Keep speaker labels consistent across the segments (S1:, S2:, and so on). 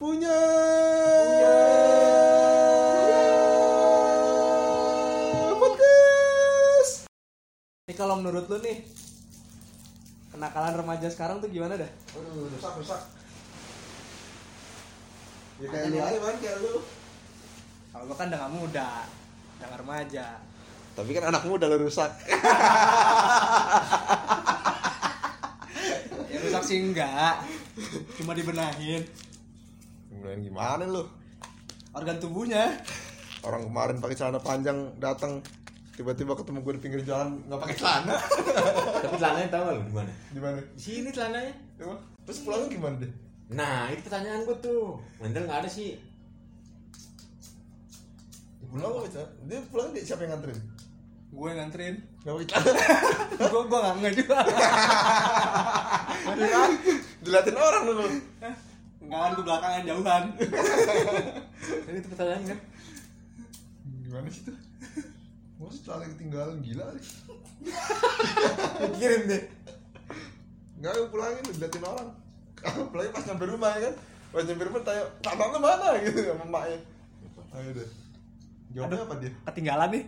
S1: Punya. Punya. Podcast. Nih kalau menurut lu nih kenakalan remaja sekarang tuh gimana dah?
S2: Aduh, rusak, rusak. Ya
S1: Ada
S2: kayak lu
S1: nilai.
S2: aja man, kayak lu.
S1: Kalau gua kan udah gak muda, udah gak remaja.
S3: Tapi kan anak muda lo rusak.
S1: Ya rusak sih enggak. Cuma dibenahin
S3: Kemudian gimana lu?
S1: organ tubuhnya.
S3: Orang kemarin pakai celana panjang datang tiba-tiba ketemu gue di pinggir jalan nggak pakai celana.
S4: Tapi celananya tahu nggak lu di mana?
S3: Gimana?
S1: Di sini celananya.
S3: Emang? Terus pulangnya gimana deh?
S4: Nah, itu pertanyaan gua tuh. Mendel nggak ada sih.
S3: Dia Ya, Pulang nggak pakai celana? Dia pulang dia siapa yang nganterin?
S1: Gue nganterin.
S3: Nggak pakai celana.
S1: Gue gue gak nggak juga.
S3: Iya kan? Diliatin orang lu.
S1: Enggak kan gue belakangan jauhan.
S4: Kan itu pertanyaan kan.
S3: Gimana sih tuh? Gue sih celana ketinggalan gila nih.
S4: Pikirin deh.
S3: Nggak gue pulangin diliatin orang. Pulangnya pas nyampe rumah ya kan? Pas nyampe rumah tanya, tanah lu mana? Gitu sama emaknya. Ayo deh. Jawabnya apa dia?
S1: Ketinggalan nih.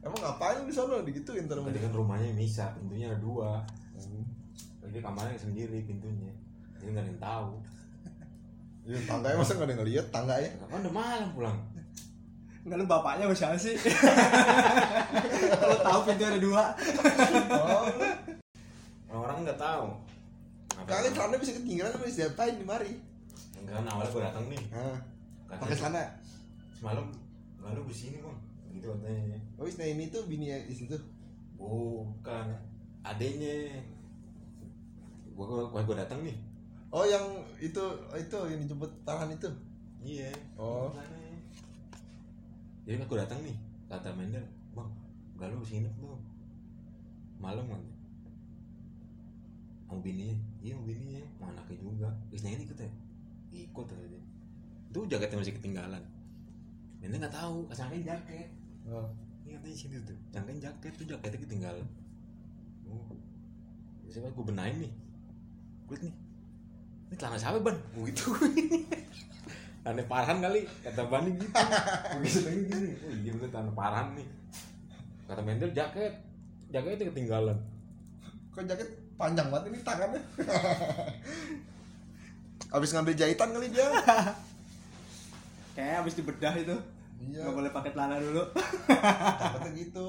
S3: Emang ngapain di sana digituin terus
S4: Tadi kan rumahnya Misa, pintunya ada dua. Jadi kamarnya sendiri pintunya. Jadi nggak ada yang tahu.
S3: Ya, tangganya masa gak ada yang ngeliat tangganya
S4: Kapan Kan udah malam pulang?
S1: Enggak lu bapaknya sama siapa sih? Kalau tahu pintu ada dua.
S3: oh,
S4: Orang-orang nggak tahu.
S3: Kalian celana bisa ketinggalan tapi bisa diapain di mari
S4: Enggak kan awalnya gua datang nih.
S3: Nah,
S4: Katanya,
S3: pakai celana
S4: Semalam lalu di sini, Bang. Gitu katanya.
S3: Oh nah ini tuh bini ya di situ
S4: Bukan adenya. Gua gua, gua datang nih.
S3: Oh yang itu oh, itu yang dijemput tangan itu
S4: Iya.
S3: Oh.
S4: Makanya. Jadi aku datang nih, kata Mendel, bang, gak lu nginep bang, malam kan? Mau bininya, iya mau bininya, mau anaknya juga. Isnya ini ikut ya, ikut aja. dia. Itu jaketnya masih ketinggalan. Mendel nggak tahu, asalnya jaket.
S3: oh.
S4: Ini katanya situ tuh, jangan gitu. jaket tuh jaketnya ketinggalan. Oh. Siapa gue benain nih? Kulit nih. Ini celana siapa ban? Gue itu. Aneh parhan kali, kata Bani gitu. Gue gitu lagi gini. Oh iya bener celana parhan nih. Kata Mendel jaket, jaketnya ketinggalan.
S3: Kok jaket panjang banget ini tangannya Abis ngambil jahitan kali dia
S1: Kayaknya habis dibedah itu.
S3: Iya.
S1: Nggak boleh pakai celana dulu.
S3: Takutnya gitu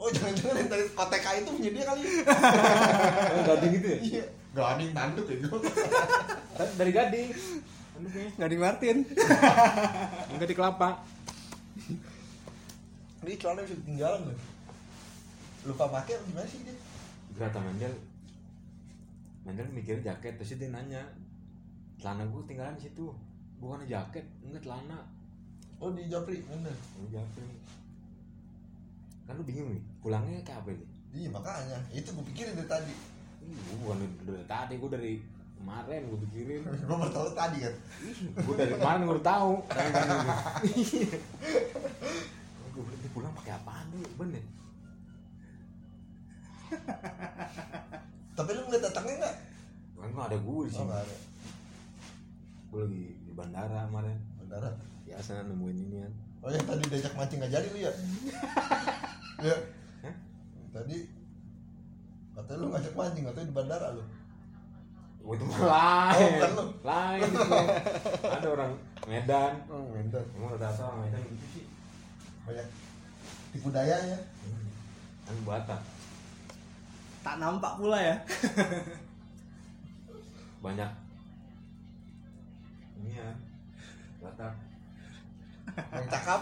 S3: Oh jangan-jangan yang tadi KTK itu punya dia kali
S4: Oh, gading gitu ya?
S3: Iya Gak ada yang tanduk ya gue
S4: Tapi Dari gading. Aduh, kayaknya.
S1: Nggak di Martin.
S4: Enggak di kelapa.
S3: Ini celana bisa ketinggalan loh Lupa pakai apa gimana sih dia
S4: Kata Mendel, Mendel mikir jaket, terus dia nanya, celana gue ketinggalan di situ. Bukan jaket, enggak celana.
S3: Oh di Japri bener
S4: Lu jawabin. Kan lu bingung nih, pulangnya kayak apa ini?
S3: Iya makanya, itu gue pikirin dari tadi
S4: Ih, Gua bukan dari- dari tadi, gua dari kemarin gua pikirin.
S3: Gue baru tahu tadi kan
S4: Gua dari kemarin gua udah tahu. Gue bilang dia pulang pakai apaan dulu, bener?
S3: Tapi lu ngeliat datangnya nggak?
S4: Kan nggak ada gua di
S3: Oh
S4: sini.
S3: nggak ada
S4: Gua lagi di bandara kemarin.
S3: Bandara
S4: Biasa nemuin ini kan.
S3: Oh yang tadi diajak mancing nggak jadi lu ya? Iya
S4: Hah?
S3: Tadi Katanya lu ngajak mancing, katanya di bandara lu
S4: Gua Oh, itu mah lain,
S3: Oh, bukan lu.
S4: lain itu mah. Ada orang Medan.
S3: Oh bener
S4: Emang ada orang Medan gitu sih.
S3: Banyak tipu dayanya
S4: Kan Batak.
S1: Tak nampak pula ya.
S4: banyak ini ya batak
S3: Yang cakap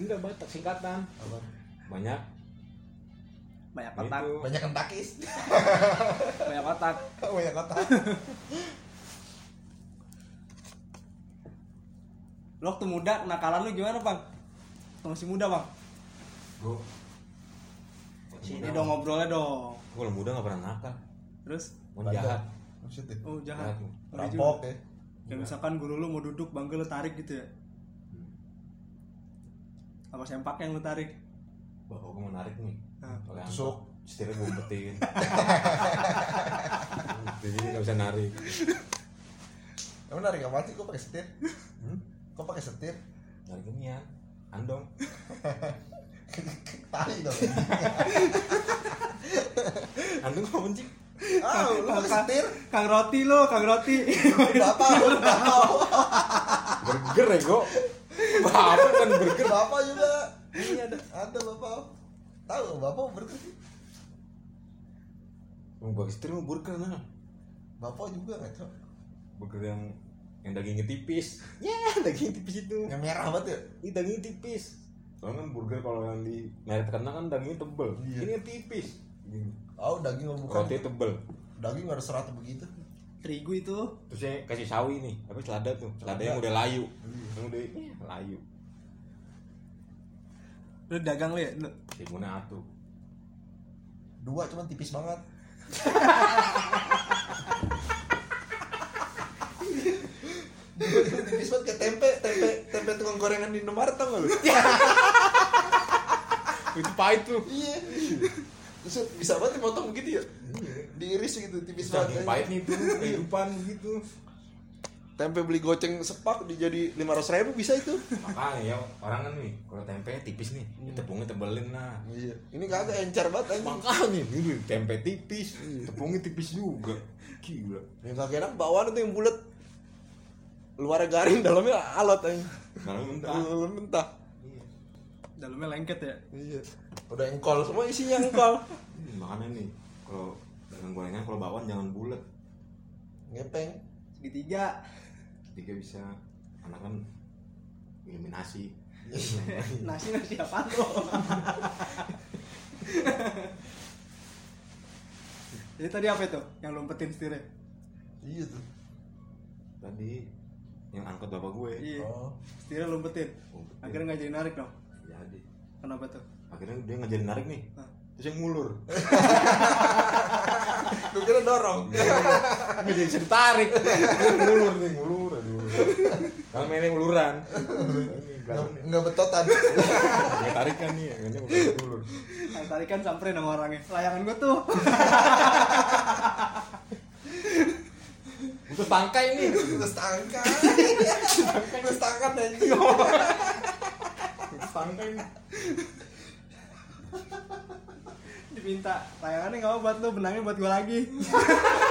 S4: enggak batak singkatan
S3: Apa?
S4: banyak
S1: Banyak kotak,
S4: Gitu.
S3: Banyak kentakis
S1: banyak kotak.
S3: Banyak kota
S1: Lu waktu muda kenakalan lu gimana, Bang? Waktu masih muda, Bang.
S4: gua
S1: Sini dong ngobrolnya dong.
S4: gua kalau muda nggak pernah nakal
S1: Terus
S4: mau jahat
S3: Maksudnya
S1: oh jahat.
S4: Jahat lu.
S1: Ngeri juga.
S3: Rampok ya
S1: Kayak misalkan guru lu mau duduk, bangga lu tarik gitu ya. Apa sempak yang lu tarik?
S4: bapak gua mau narik nih
S1: Hah.
S4: Pakai angkot.
S3: Tusuk.
S4: setirnya gua umpetin jadi nggak bisa narik
S3: Emang narik apa sih? Kok pakai setir?
S4: Hmm?
S3: Kok pakai setir?
S4: Narik ini ya. Andong.
S3: Tali dong.
S4: Andong mau mencing.
S3: Ah, lu pakai setir?
S1: Kang Roti lo, Kang Roti.
S3: Bapak, lu bapak,
S4: Burger ya kok. Bapak kan burger.
S3: bapak juga.
S1: Ini Iya, ada.
S3: Ada bapak. Tahu bapak burger sih?
S4: Mau gua istri mau burger nah.
S3: Bapak juga ngaco.
S4: Burger yang yang dagingnya tipis. Ya, daging tipis itu.
S3: Yang merah banget ya?
S4: Ini dagingnya tipis. Soalnya kan burger kalau yang di merek terkenal kan dagingnya tebel.
S3: Iya.
S4: Ini yang tipis. Gini.
S3: Oh, daging lu bukan.
S4: Roti tebel.
S3: Daging harus serata begitu.
S1: Terigu itu.
S4: Terusnya kasih sawi nih, apa selada tuh. Selada yang udah layu. Yang udah ya, layu.
S1: Lu dagang lo ya? Lu.
S4: Timunnya atuh.
S3: Dua cuman tipis banget. Dua cuman tipis banget kayak tempe, tempe, tempe tukang gorengan di Indomaret tau gak lu?
S4: Itu pahit tuh.
S3: Iya. Terus bisa banget dipotong begitu ya? Diiris gitu tipis
S4: Saking
S3: banget.
S4: pahit nih tuh kehidupan gitu.
S3: Tempe beli goceng sepak dijadi lima ratus ribu bisa itu?
S4: Makanya ya orang kan nih kalau tempe tipis nih, ya tepungnya tebelin lah.
S3: Iya. Ini kagak encer banget anjing.
S4: Makanya ini tempe tipis, tepungnya tipis juga. Gila.
S3: Yang kagak enak bawaan itu yang bulat. Luarnya garing, dalamnya alot anjing.
S4: Kalau mentah.
S3: Dalamnya mentah.
S1: Dalamnya lengket ya.
S3: Iya. Udah engkol semua isinya engkol.
S4: Hmm, Makanya nih kalau dengan gorengan kalau bakwan jangan bulat.
S3: Ngepeng.
S1: Segitiga.
S4: Jika bisa anak kan minum nasi.
S1: Nasi nasi apa lo? Jadi tadi apa itu? Yang lompetin setirnya?
S3: Iya tuh.
S4: Tadi yang angkot bapak gue.
S1: Iya.
S3: Oh.
S1: Setirnya lompetin.
S4: Lompetin.
S1: Akhirnya nggak jadi narik dong.
S4: Jadi
S1: Kenapa tuh?
S4: Iya,
S1: Nah,
S4: akhirnya dia ngajarin narik nih.
S1: Hah.
S4: Terus yang ngulur.
S3: Gue kira dorong.
S4: Nggak jadi bisa ditarik. ngulur nih, ngulur. Aduh. Kalau mainnya nguluran. Ini
S3: Enggak betotan.
S4: tarik kan nih, kayaknya ngulur. ngulur.
S1: Yang tarikan samperin sama orangnya. Layangan gua tuh.
S4: Untuk tangkai nih.
S3: Terus tangkan. Terus tangkan anjing.
S4: Untuk tangkai nih.
S1: Diminta layangannya nggak mau buat lo, benangnya buat gua lagi.